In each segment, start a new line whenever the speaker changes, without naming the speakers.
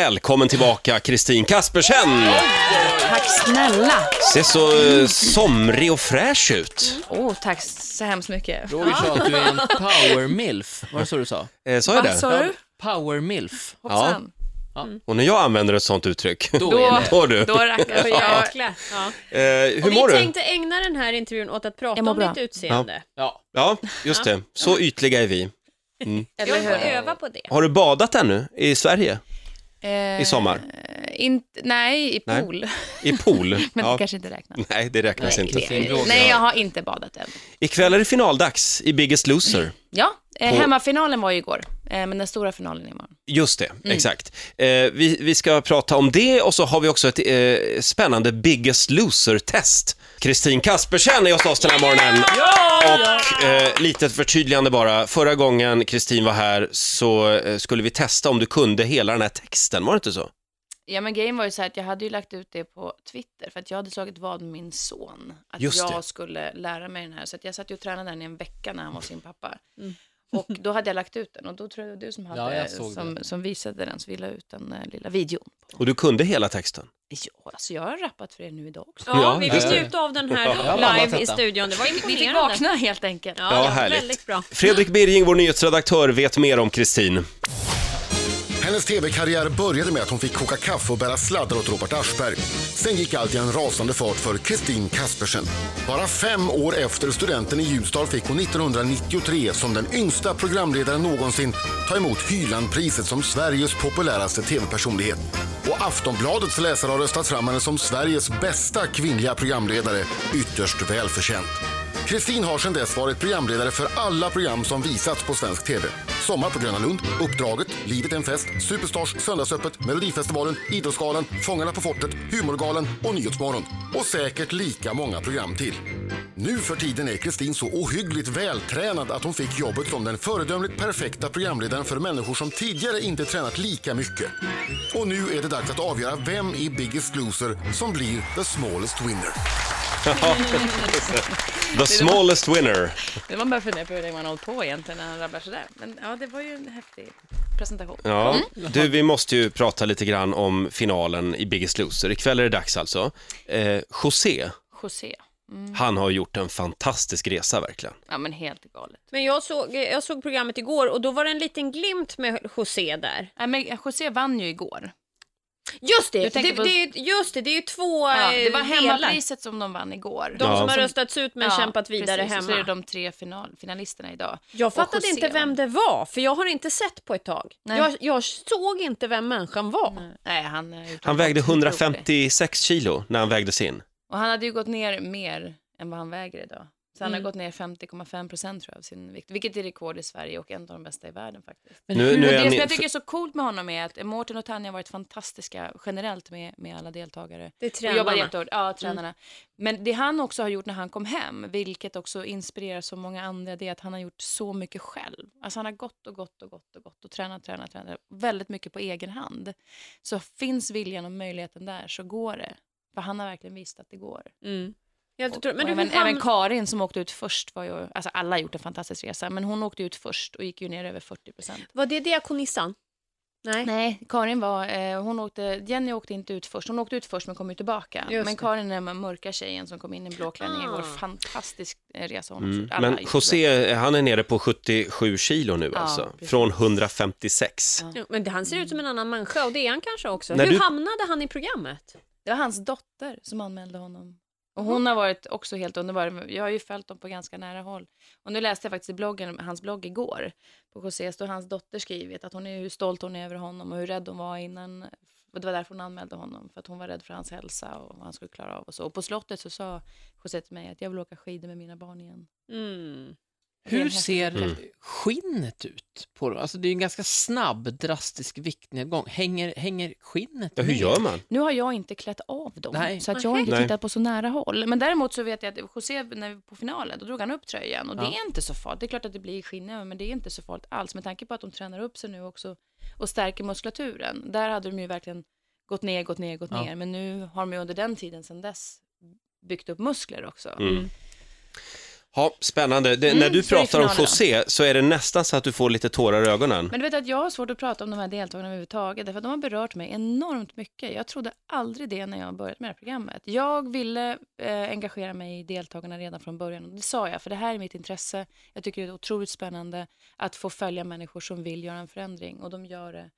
Välkommen tillbaka Kristin Kaspersen!
Tack snälla!
Ser så eh, somrig och fräsch ut.
Åh, tack så hemskt mycket.
Roger sa att du är en power milf. Var det så du sa?
Eh, Sa jag
Vad
det?
sa du?
Power milf.
Hoppsan.
Och när jag använder ett sånt uttryck,
Då,
Då-
är det.
då du.
Då rackar jag.
Jäklar. Ja.
Eh, hur
Och
mår
vi
du?
tänkte ägna den här intervjun åt att prata
Jag mår
om
bra.
ditt utseende.
Ja.
Ja, just det. Så ytliga är vi.
Eller
Jag
hur?
öva på det.
Har du badat ännu i Sverige
Eh,
i sommar?
inte- nej, i
Nej.
pool.
I pool?
Men
Ja.
det kanske inte räknas.
Nej, det räknas
Nej,
inte.
det- nej, jag har inte badat än.
Ikväll är det finaldags i Biggest Loser.
Ja, eh,
På-
hemmafinalen var ju igår, eh, men den stora finalen är imorgon.
Just det,
Mm.
exakt. Eh, vi, vi ska prata om det och så har vi också ett eh, spännande Biggest Loser-test. Kristin Kaspersen är hos oss den här morgonen. Och eh, litet förtydligande bara. Förra gången Kristin var här så eh, skulle vi testa om du kunde hela den här texten, var det inte så?
Ja, men grejen var ju så här att jag hade ju lagt ut det på Twitter, för att jag hade slagit vad med min son. Att
Just
jag
det.
skulle lära mig den här, så att jag satt ju och tränade den i en vecka när han var sin pappa. Och då hade jag lagt ut den och då tror jag det var du som,
Ja,
hade,
jag såg
som, som visade den, så vi la ut den eh, lilla videon.
Och du kunde hela texten.
Ja, alltså jag har rappat för er nu idag också.
Ja,
Ja,
vi
just
fick
det.
njuta av den
Ja,
här
bara
live i
titta.
studion. Det var
Vi fick
imponerande.
vakna helt enkelt.
Ja,
Ja,
ja,
härligt.
Väldigt bra.
Fredrik Birging, vår nyhetsredaktör, vet mer om Kristin.
Hennes tv-karriär började med att hon fick koka kaffe och bära sladdar åt Robert Aschberg. Sen gick allt i en rasande fart för Kristin Kaspersen. Bara fem år efter studenten i Ljusdal fick hon 1993 som den yngsta programledaren någonsin ta emot Hylandpriset som Sveriges populäraste tv-personlighet. Och Aftonbladets läsare har röstat fram henne som Sveriges bästa kvinnliga programledare, ytterst välförtjänt. Kristin har sedan dess varit programledare för alla program som visats på svensk tv. Sommar på Gröna Lund, Uppdraget, Livet är en fest, Superstars, Söndagsöppet, Melodifestivalen, Idrottsgalan, Fångarna på fortet, Humorgalan och Nyhetsmorgon. Och säkert lika många program till. Nu för tiden är Kristin så ohyggligt vältränad att hon fick jobbet som den föredömligt perfekta programledaren för människor som tidigare inte tränat lika mycket. Och nu är det dags att avgöra vem i Biggest Loser som blir the smallest winner.
The smallest winner.
Det man börjar fundera på hur länge man har hållit på egentligen när han rabblar sådär. Men ja, det var ju en häftig presentation.
Ja, du, vi måste ju prata lite grann om finalen i Biggest Loser. Ikväll är det dags alltså. Eh, José,
José.
han har gjort en fantastisk resa verkligen.
Ja, men helt galet.
Men jag såg, jag såg programmet igår och då var det en liten glimt med José där.
Nej, men José vann ju igår.
Just det,
Du
det,
tänker på-
det, är ju- just det, det är ju två
Ja, det
eh,
var
delar.
hemmapriset som de vann igår.
De
Ja.
som har röstats ut men
Ja,
kämpat vidare
precis, Så är det
hemma.
de tre final, finalisterna idag.
Jag fattade
José
inte
vann.
vem det var, för jag har inte sett på ett tag.
Nej.
Jag, jag såg inte vem människan var.
Nej, han, har gjort
Han
en
vägde
otrolig-
156 kilo när han vägdes in.
Och han hade ju gått ner mer än vad han väger idag. Så
Mm.
han har gått ner 50,5 procent tror jag av sin vikt, vilket är rekord i Sverige och en av de bästa i världen faktiskt.
Men
Nu-
hur,
nu
Och
är
det som
ni-
jag tycker är så coolt med honom är att Mårten och Tanja har varit fantastiska generellt med, med alla deltagare.
Det är
Och jobbar
tränarna. Mm.
jättehårt, ja tränarna. Men det han också har gjort när han kom hem, vilket också inspirerar så många andra, det är att han har gjort så mycket själv. Alltså han har gått och gått och gått och gått och tränat, tränat, tränat. Väldigt mycket på egen hand. Så finns viljan och möjligheten där så går det. För han har verkligen visat att det går.
Helt otroligt. Men
Och
du,
även,
hur hamn-
även Karin som åkte ut först var ju, alltså alla har gjort en fantastisk resa, men hon åkte ut först och gick ju ner över 40 procent.
Var det diakonissan? Nej.
Nej, Karin var, eh, hon åkte, Jenny åkte inte ut först. Hon åkte ut först men kom ju tillbaka.
Just
men
det.
Karin är den här mörka tjejen som kom in i en blå klänning igår.
Ah.
Fantastisk eh, resa hon har
Mm.
gjort. Alla har
Men
gjort det.
José, han är nere på 77 kilo nu
Ja,
alltså,
precis.
från 156.
Ja.
Jo, Men det, han ser ut som en annan människa och det är han kanske också.
När
Hur
du-
hamnade han i programmet?
Det var hans dotter som anmälde honom. Och hon har varit också helt underbar. Jag har ju följt dem på ganska nära håll. Och nu läste jag faktiskt i bloggen, hans blogg igår. På José står hans dotter skrivit att hon är, hur stolt hon är över honom och hur rädd hon var innan. Och det var därför hon anmälde honom. För att hon var rädd för hans hälsa och vad han skulle klara av och så. Och på slottet så sa José till mig att jag vill åka skidor med mina barn igen.
Mm.
hur ser
Mm.
skinnet ut? på dem? Alltså Det är ju en ganska snabb, drastisk viktnedgång. Hänger, hänger skinnet
Ja, hur
ner?
gör man?
Nu har jag inte klätt av dem,
Nej.
så att jag har
Nej.
inte
Nej.
tittat på så nära håll. Men däremot så vet jag att José, när vi var på finalen, då drog han upp tröjan och det
Ja.
är inte så farligt. Det är klart att det blir skinn över, men det är inte så farligt alls. Med tanke på att de tränar upp sig nu också och stärker muskulaturen. Där hade de ju verkligen gått ner, gått ner, gått
Ja.
ner. Men nu har de ju under den tiden sedan dess byggt upp muskler också.
Mm. Ja, spännande. Det,
Mm,
när du
så är det
pratar om
final idag.
José så är det nästan så att du får lite tårar i ögonen.
Men du vet att jag har svårt att prata om de här deltagarna överhuvudtaget, därför att de har berört mig enormt mycket. Jag trodde aldrig det när jag började med det här programmet. Jag ville eh, engagera mig i deltagarna redan från början och det sa jag, för det här är mitt intresse. Jag tycker det är otroligt spännande att få följa människor som vill göra en förändring och de gör det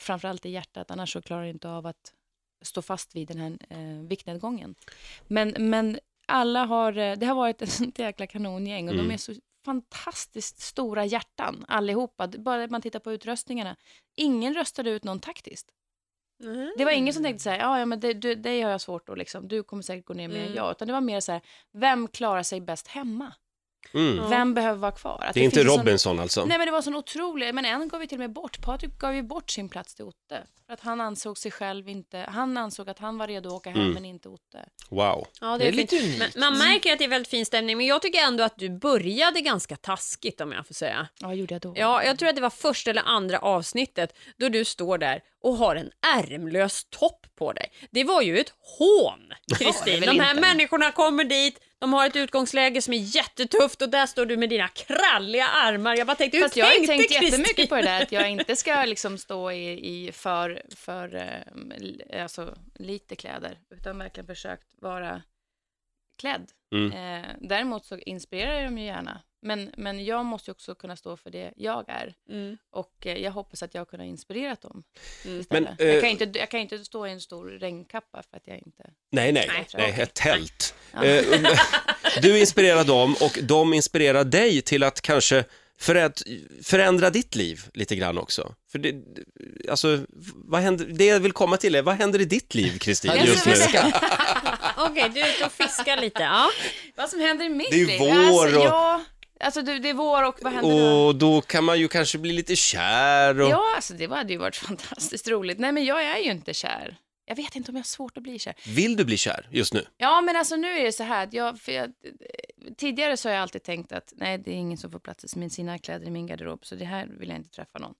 framförallt i hjärtat, annars så klarar jag inte av att stå fast vid den här eh, viktnedgången. Men, men alla har, eh, det har varit ett sånt jäkla kanongäng och
Mm.
de är så fantastiskt stora hjärtan allihopa. D- Bara man tittar på utröstningarna. Ingen röstade ut någon taktiskt. Det var ingen som tänkte så här, "Ja, ja men det, du, det har jag svårt att liksom, du kommer säkert gå ner mer än
Mm.
jag. Utan det var mer så här, vem klarar sig bäst hemma?
Mm.
Ja.
Vem behöver vara kvar? Att
Det är inte
finns en
Robinson alltså?
Liksom.
Sån, nej men det var sån otrolig, men en gav ju till och med bort, Patrik gav ju bort sin plats till Otte. För att han ansåg sig själv inte, han ansåg att han var redo att åka hem
Mm.
men inte Otte.
Wow.
Ja,
Det är
fint.
lite unikt. Mm.
Men, man märker att det är väldigt fin stämning, men jag tycker ändå att du började ganska taskigt om jag får säga.
Ja, vad gjorde jag då?
Ja, jag tror att det var första eller andra avsnittet då du står där och har en ärmlös topp på dig. Det var ju ett hån, Kristin.
väl
De här
inte.
människorna kommer dit, de har ett utgångsläge som är jättetufft och där står du med dina kralliga armar. Jag bara tänkte, hur
Fast jag har ju
tänkte
tänkt
Kristin?
jättemycket på det där att jag inte ska liksom stå i, i för, för ehm, l- alltså, lite kläder, utan verkligen försökt vara klädd.
Mm.
Eh, däremot så inspirerar jag dem ju gärna, men, men jag måste ju också kunna stå för det jag är.
Mm.
Och eh, jag hoppas att jag har kunnat inspirera dem
Mm.
istället.
Men, eh,
jag, kan ju inte, jag kan ju inte stå i en stor regnkappa för att jag inte...
Nej, nej,
Nej,
nej,
okej.
ett tält.
Ja.
Eh, du inspirerar dem och de inspirerar dig till att kanske förä- förändra ditt liv lite grann också. För det, alltså, vad händer, det jag vill komma till är, vad händer i ditt liv, Kristin,
Ja,
just nu?
men-
Okej, du är ute och fiskar lite. Ja.
Vad som händer i mitt
Det är ju
liv?
vår
alltså,
och-
ja, alltså det, det är vår och vad händer då?
Och då kan man ju kanske bli lite kär och...
Ja, alltså det hade ju varit fantastiskt roligt. Nej, men jag är ju inte kär. Jag vet inte om jag har svårt att bli kär.
Vill du bli kär just nu?
Ja, men alltså nu är det så här att jag, för jag tidigare så har jag alltid tänkt att nej, det är ingen som får plats med sina kläder i min garderob, så det här vill jag inte träffa någon.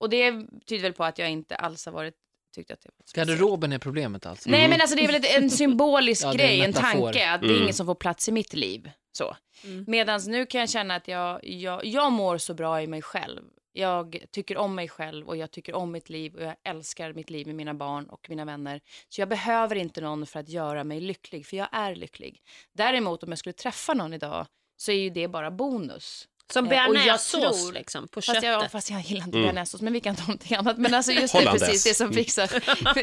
Och det tyder väl på att jag inte alls har varit, tyckt att det var
Garderoben är problemet alltså.
Nej, men alltså det är väl ett- en symbolisk
Ja, det är en
grej, en,
metafor.
tanke, att det
Mm.
är ingen som får plats i mitt liv. Så.
Mm.
Medan nu kan jag känna att jag, jag, jag mår så bra i mig själv. Jag tycker om mig själv och jag tycker om mitt liv och jag älskar mitt liv med mina barn och mina vänner. Så jag behöver inte någon för att göra mig lycklig, för jag är lycklig. Däremot om jag skulle träffa någon idag så är ju det bara bonus.
Som
Eh, och jag
bearnaisesås
tror-
liksom, på
Fast
köttet.
jag, fast jag gillar inte
Mm.
bearnaisesås, men vi kan ta någonting annat. Men alltså just det,
Hollandaise.
precis det som fixar.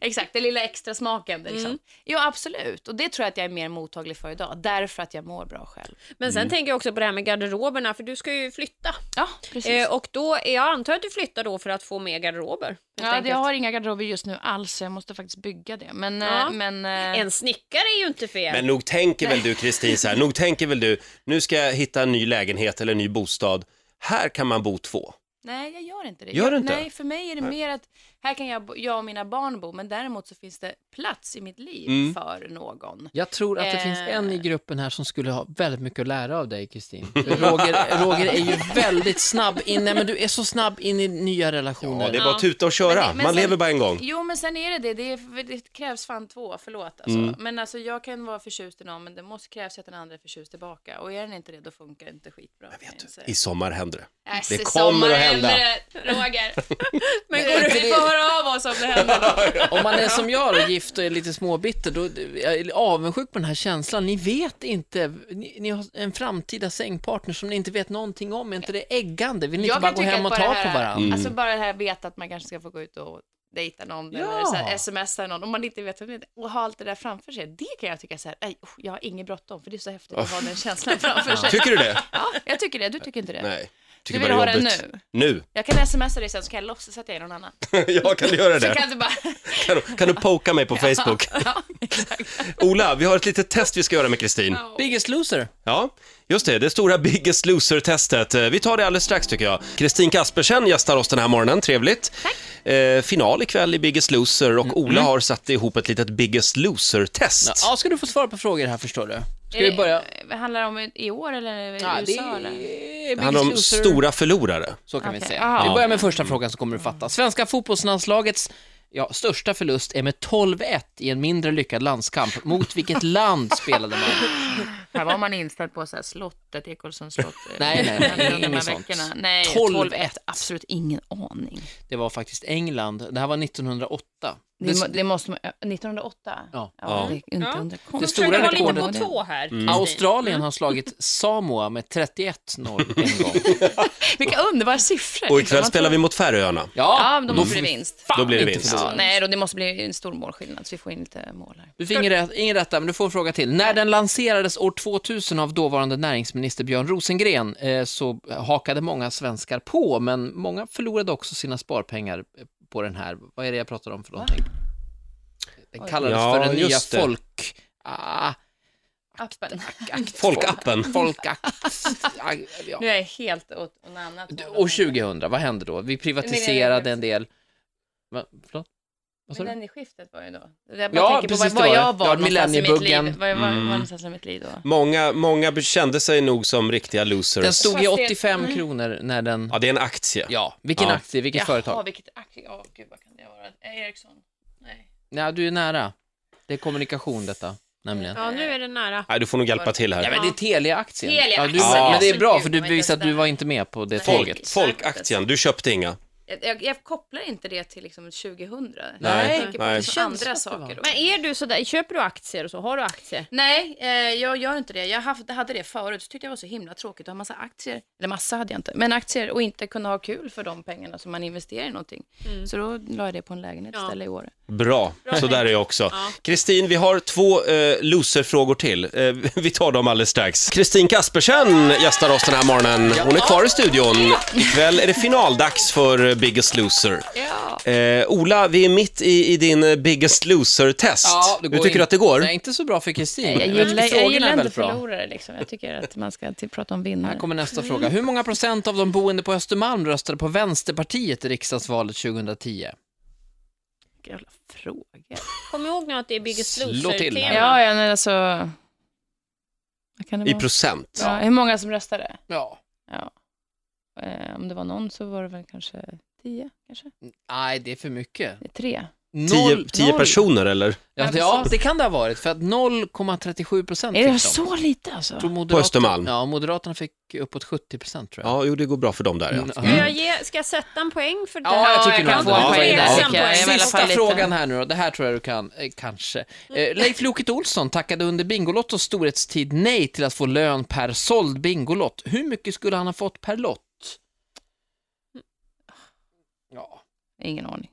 Exakt, den lilla extra smaken. Liksom.
Mm.
Jo, absolut. Och det tror jag att jag är mer mottaglig för idag, därför att jag mår bra själv.
Men
Mm.
sen tänker jag också på det här med garderoberna, för du ska ju flytta.
Ja, precis.
Eh, och då, jag antar att du flyttar då för att få mer garderober. helt
ja,
enkelt.
jag har inga garderober just nu alls, så jag måste faktiskt bygga det. Men, eh,
Ja.
men eh,
En snickare är ju inte fel.
Men nog tänker väl du Kristin så här, nog tänker väl du, nu ska jag hitta en ny lägenhet eller en ny bostad. Här kan man bo två.
nej, jag gör inte det.
Gör
Jag-
du inte?
Nej, för mig är det mer att här kan jag, bo- jag och mina barn bo, men däremot så finns det plats i mitt liv
Mm.
för någon.
Jag tror att det finns
Eh.
en i gruppen här som skulle ha väldigt mycket att lära av dig, Kristin. För Roger, Roger är ju väldigt snabb in, nej men du är så snabb in i nya relationer.
Ja, det är bara att tuta och
Men
köra,
det- men
man
sen-
lever bara en gång.
Jo, men sen är det det. Det, är, det krävs fan två, förlåt. Alltså.
Mm.
Men alltså, jag kan vara förtjust i någon, men det måste krävas att den andra är förtjust tillbaka. Och är den inte det, då funkar det inte skitbra. Jag
I sommar händer det.
Äsch,
det
i
kommer
Alltså. Äh, sommar
att hända.
händer det, Roger.
Men
Men
går
går vi
du-
får höra av oss om det händer.
Om man är som jag då, gift och är lite småbitter, då jag är avundsjuk på den här känslan. Ni vet inte, ni, ni har en framtida sängpartner som ni inte vet någonting om. Är inte det äggande? Vill ni inte
Jag
bara
kan
gå
tycka
hem
att
och
bara
ta
det här-
på varandra?
Alltså bara det här att veta att man kanske ska få gå ut och dejta någon eller
Ja.
så här, smsa någon om man inte vet vem det är och ha allt det där framför sig. Det kan jag tycka så här, nej, usch, jag har inget bråttom för det är så häftigt att ha den känslan framför sig.
Tycker du det?
Ja, jag tycker det, du tycker inte det?
Nej.
Du
Tycker
vill
bara
ha
det är
den
jobbigt.
nu?
Nu?
Jag kan smsa dig sen så kan jag låtsas att jag är någon annan.
ja, kan du göra
Så
det?
kan du bara...
Kan, du- kan du poka mig på Facebook?
ja, exakt.
Ola, vi har ett litet test vi ska göra med Kristin.
Biggest loser.
Ja, just det, det stora Biggest Loser-testet. Eh, Vi tar det alldeles strax tycker jag. Kristin Kaspersen gästar oss den här morgonen, trevligt. Tack. Eh, final ikväll i Biggest Loser
Mm.
och Ola har satt ihop ett litet Biggest Loser-test.
Ja, ska du få svara på frågor här förstår du. Ska vi börja?
Eh, Handlar det om i år eller i
Ja, det
USA? Eller?
är
Det handlar om
Biggest Loser.
stora förlorare.
Så kan vi
Okej.
säga.
Ja.
Vi börjar med första frågan så kommer du fatta. Svenska fotbollslandslagets Ja, största förlust är med 12-1 i en mindre lyckad landskamp. Mot vilket land spelade man?
Här var man inställd på så här slottet, Ekolsons slott.
Nej, nej, nej,
Under de här
inget sånt.
veckorna. Nej,
12-1.
12-1. Absolut ingen aning.
Det var faktiskt England. Det här var 1908.
Det,
Det,
må- det måste man, 1908?
Ja.
Ja.
det är inte undra
Det
Det
konstigt.
stora Mm.
stora rekordet. lite på
rekordet-
tå här. Kristin.
Australien har
Mm.
slagit Samoa med 31-0 en gång.
Vilka underbara siffror.
Och
liksom.
ikväll
Man
spelar vi
tror-
mot Färöarna.
Ja, men då
då får
måste det
vi
bli vinst.
fan
Då blir det
inte
vinst.
förlora.
Ja, nej då, det måste bli en stor målskillnad så vi får in lite mål här.
Du fick ingen rätt, ingen rätt där, men du får en fråga till. När den lanserades år 2000 av dåvarande näringsminister Björn Rosengren eh, så hakade många svenskar på, men många förlorade också sina sparpengar eh, på den här. Vad är det jag pratar om för någonting? Den kallades
Ja,
för den nya
just det.
folk... Ah,
Appen.
Folkappen.
folkakt... Ah, ja.
Nu är jag helt åt något annat håll.
År 2000, vad hände då? Vi privatiserade en del... Va, förlåt? Vad sa du?
Millennieskiftet var ju då. Jag bara
Ja,
tänker på
precis,
var, var
det var
jag var någonstans i
det. Ja,
mitt
millenniebuggen. Mm.
liv. Var jag var, var någonstans i mitt liv då?
Många, många kände sig nog som riktiga
Den
losers.
stod i
Fast det-
85 kronor när den...
Ja, det är en aktie.
Ja, vilken
Ja.
aktie, vilket företag?
Jaha, vilket aktie. Ja, gud vad kan det vara? Eh, Ericsson? Nej.
Nej, du är nära. Det är kommunikation detta, nämligen.
Ja, nu är det nära.
Nej, du får nog hjälpa till
Ja,
här.
men det är Telia-aktien.
Telia,
ja, du,
alltså,
Men det är bra,
herregud,
för du
vad jag
bevisar att du
testar.
var inte med på det
Nej.
Folk,
tåget.
folkaktien, du köpte inga.
Jag, jag, jag kopplar inte det till liksom 2000.
Nej,
jag tänker på
nej.
liksom
Det
andra
känns som att det
saker.
var.
Då.
Men är du sådär, köper du aktier och så? Har du aktier?
Nej, eh, jag gör inte det. Jag haft, hade det förut, så tyckte jag det var så himla tråkigt att ha massa aktier. Eller massa hade jag inte, men aktier och inte kunna ha kul för de pengarna som man investerar i någonting. Så då la jag det på en lägenhet istället i år.
Bra, så där är jag också. Kristin, vi har två eh, loserfrågor till. Eh, vi tar dem alldeles strax. Kristin Kaspersen gästar oss den här morgonen. Hon är kvar i studion. Ikväll är det finaldags för eh, Biggest Loser. Eh, Ola, vi är mitt i, i din eh, Biggest Loser-test.
det
Hur tycker
in-
du att det går?
Nej, inte så bra för Kristin.
Jag
Men
gillar,
frågorna
jag
Mm. är
gillar inte
väldigt bra.
förlorare liksom. Jag tycker att man ska till, prata om
Här
vinnare.
kommer nästa fråga. Hur många procent av de boende på Östermalm röstade på Vänsterpartiet i riksdagsvalet 2010?
Jävla frågor.
Kom ihåg nu att det är Biggest
Slå till
Loser-tema.
här.
Ja, ja, men alltså... Vad kan det
I
vara?
procent.
Ja, hur många som röstade?
Ja.
Ja. Eh, om det var någon så var det väl kanske tio, kanske?
Nej, det är för mycket.
Tre.
Tio,
Noll-
tio
noll-
personer eller?
Ja, det- ja, det kan det ha varit. För att 0,37 procent
Är det
fick de.
så lite alltså?
Tror Moderaterna-
På Östermalm?
Ja, Moderaterna fick uppåt 70 procent tror jag.
Ja, jo, det går bra för dem där
Mm,
ja. Mm.
Ska jag, ge, ska jag sätta en poäng för det
Ja, jag tycker
jag
nog
kan
att
få
det
en
var
poäng
en
där,
poäng.
tycker jag. Jag är i alla
Sista
fall lite- Mm.
frågan här nu då, det här tror jag du kan, eh, kanske. Eh, Leif Loket Olsson tackade under Bingolottos storhetstid nej till att få lön per såld Bingolott. Hur mycket skulle han ha fått per lott?
Mm.
Ja,
Ingen aning.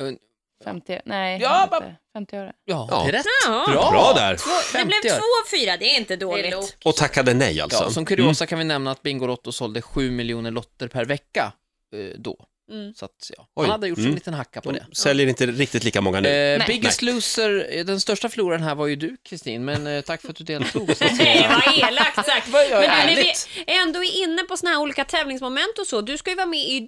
Un-
50, nej,
Ja,
inte. 50 öre.
ja,
Ja.
det är rätt.
Jaha.
Bra, bra där.
Två- Det
50
blev
öre.
2-4, det är inte
Det är
dåligt.
lågt.
Och tackade nej alltså.
Ja, som kuriosa kan vi nämna att Bingolotto sålde 7 miljoner lotter per vecka eh, då.
Mm.
Så att, ja.
Oj.
Han hade gjort en
Mm.
liten hacka på
De
det.
säljer inte riktigt lika många nu.
Eh, biggest loser, eh, den största förloraren här var ju du Kristin, men eh, tack för att du deltog. så att säga.
Nej, vad elakt sagt. Men
jag
du, när vi
ärligt.
ändå är inne på såna här olika tävlingsmoment och så. Du ska ju vara med i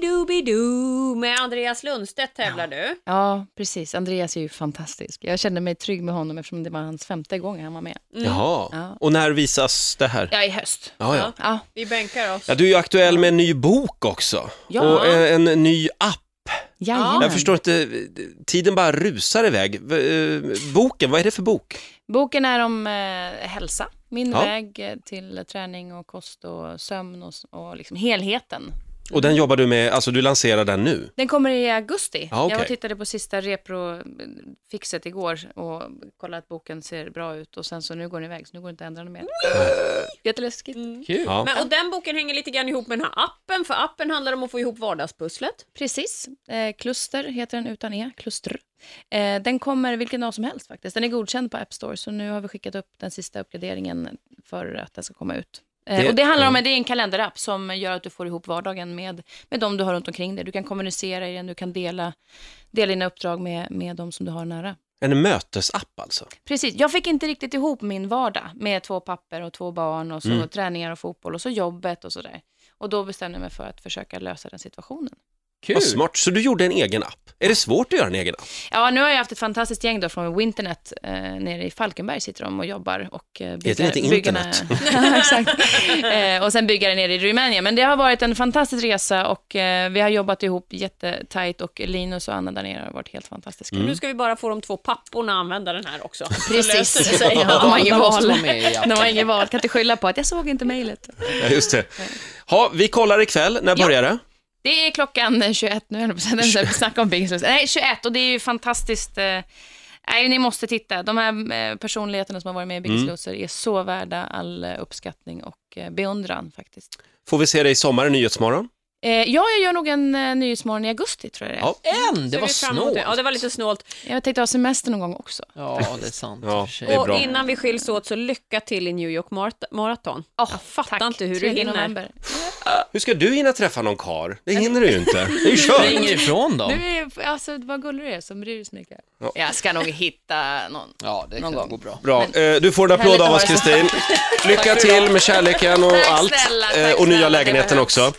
Doobidoo med Andreas Lundstedt tävlar du.
Ja, precis. Andreas är ju fantastisk. Jag kände mig trygg med honom eftersom det var hans femte gång han var med.
Jaha.
Mm. Ja.
Och när visas det här?
Ja, i höst.
Ja, ja.
Ja,
Vi bänkar oss.
ja du är ju aktuell med en ny bok också.
Ja.
Och eh, en, en ny app.
jajamän.
Jag förstår inte, tiden bara rusar iväg. V- eh, Boken, vad är det för bok?
Boken är om eh, hälsa, min
Ja.
väg eh, till träning och kost och sömn och, s- och liksom helheten.
Och den jobbar du med, alltså du lanserar den nu?
Den kommer i augusti.
Ja, okej.
Jag var och tittade på sista reprofixet igår och kollade att boken ser bra ut och sen så nu går den iväg så nu går det inte att ändra den mer. Jätteläskigt.
Kul.
Ja.
Men, och den boken hänger lite grann ihop med den här appen, för appen handlar om att få ihop vardagspusslet.
Precis. Eh, kluster heter den utan e, kluster. Eh, den kommer vilken dag som helst faktiskt. Den är godkänd på App Store så nu har vi skickat upp den sista uppgraderingen för att den ska komma ut. Eh,
Det-
och det handlar om
ja.
det är en kalenderapp som gör att du får ihop vardagen med, med de du har runt omkring dig. Du kan kommunicera i den, du kan dela, dela dina uppdrag med, med de som du har nära.
En mötesapp alltså?
Precis. Jag fick inte riktigt ihop min vardag med två papper och två barn och så
Mm.
träningar och fotboll och så jobbet och sådär. Och då bestämde jag mig för att försöka lösa den situationen.
Kul!
Vad smart. Så du gjorde en egen app. Är det svårt att göra en egen app?
Ja, nu har jag haft ett fantastiskt gäng då från Winternet. Eh, nere i Falkenberg sitter de och jobbar och eh, bygger...
Heter det inte Internet?
ja, exakt. Eh, och sen byggare nere i Rumänien. Men det har varit en fantastisk resa och eh, vi har jobbat ihop jättetajt och Linus och Anna där nere har varit helt fantastiska.
Mm.
Nu ska vi bara få de två papporna att använda den här också.
Precis.
sig.
Ja, de har inget
måste
val.
vara med i appen.
De har inget val. Kan inte skylla på att jag såg inte mejlet.
Ja, just det. Ha, vi kollar ikväll. När börjar det?
Det är klockan 21 nu, höll jag på att säga. Den där Snacka om Biggest Loser. Nej, 21 och det är ju fantastiskt. eh, Nej, ni måste titta. De här eh, personligheterna som har varit med i Biggest
Mm.
Loser är så värda all eh, uppskattning och eh, beundran faktiskt.
Får vi se dig i sommar i Nyhetsmorgon?
Eh, ja, jag gör nog en eh, Nyhetsmorgon i augusti tror jag det är.
Ja.
En! Det
Ser
var
vi fram emot
snålt.
det. Ja, det var lite snålt.
Jag tänkte ha semester någon gång också.
Ja, det är sant. i
Ja.
och för sig.
Det är
Och
bra.
innan vi skiljs åt så lycka till i New York Mar- Marathon. jag fattar
Tack.
inte hur du
3
hinner.
november.
Hur ska du hinna träffa någon kar?
Alltså-
Det hinner du ju inte. Det är ju
Du
kört.
ringer ifrån dem.
Du är, alltså, vad gullig du är som bryr dig så mycket.
Ja.
Jag ska nog hitta någon.
Ja, det
Någon
kan
gång.
gå bra.
Bra. Eh, Du får en applåd
Härligt
av
att
oss,
vara så-
Kristin. Lycka till med kärleken och
Tack
allt.
snälla, tack
Eh, Och nya
snälla, det
lägenheten
behövs.
också.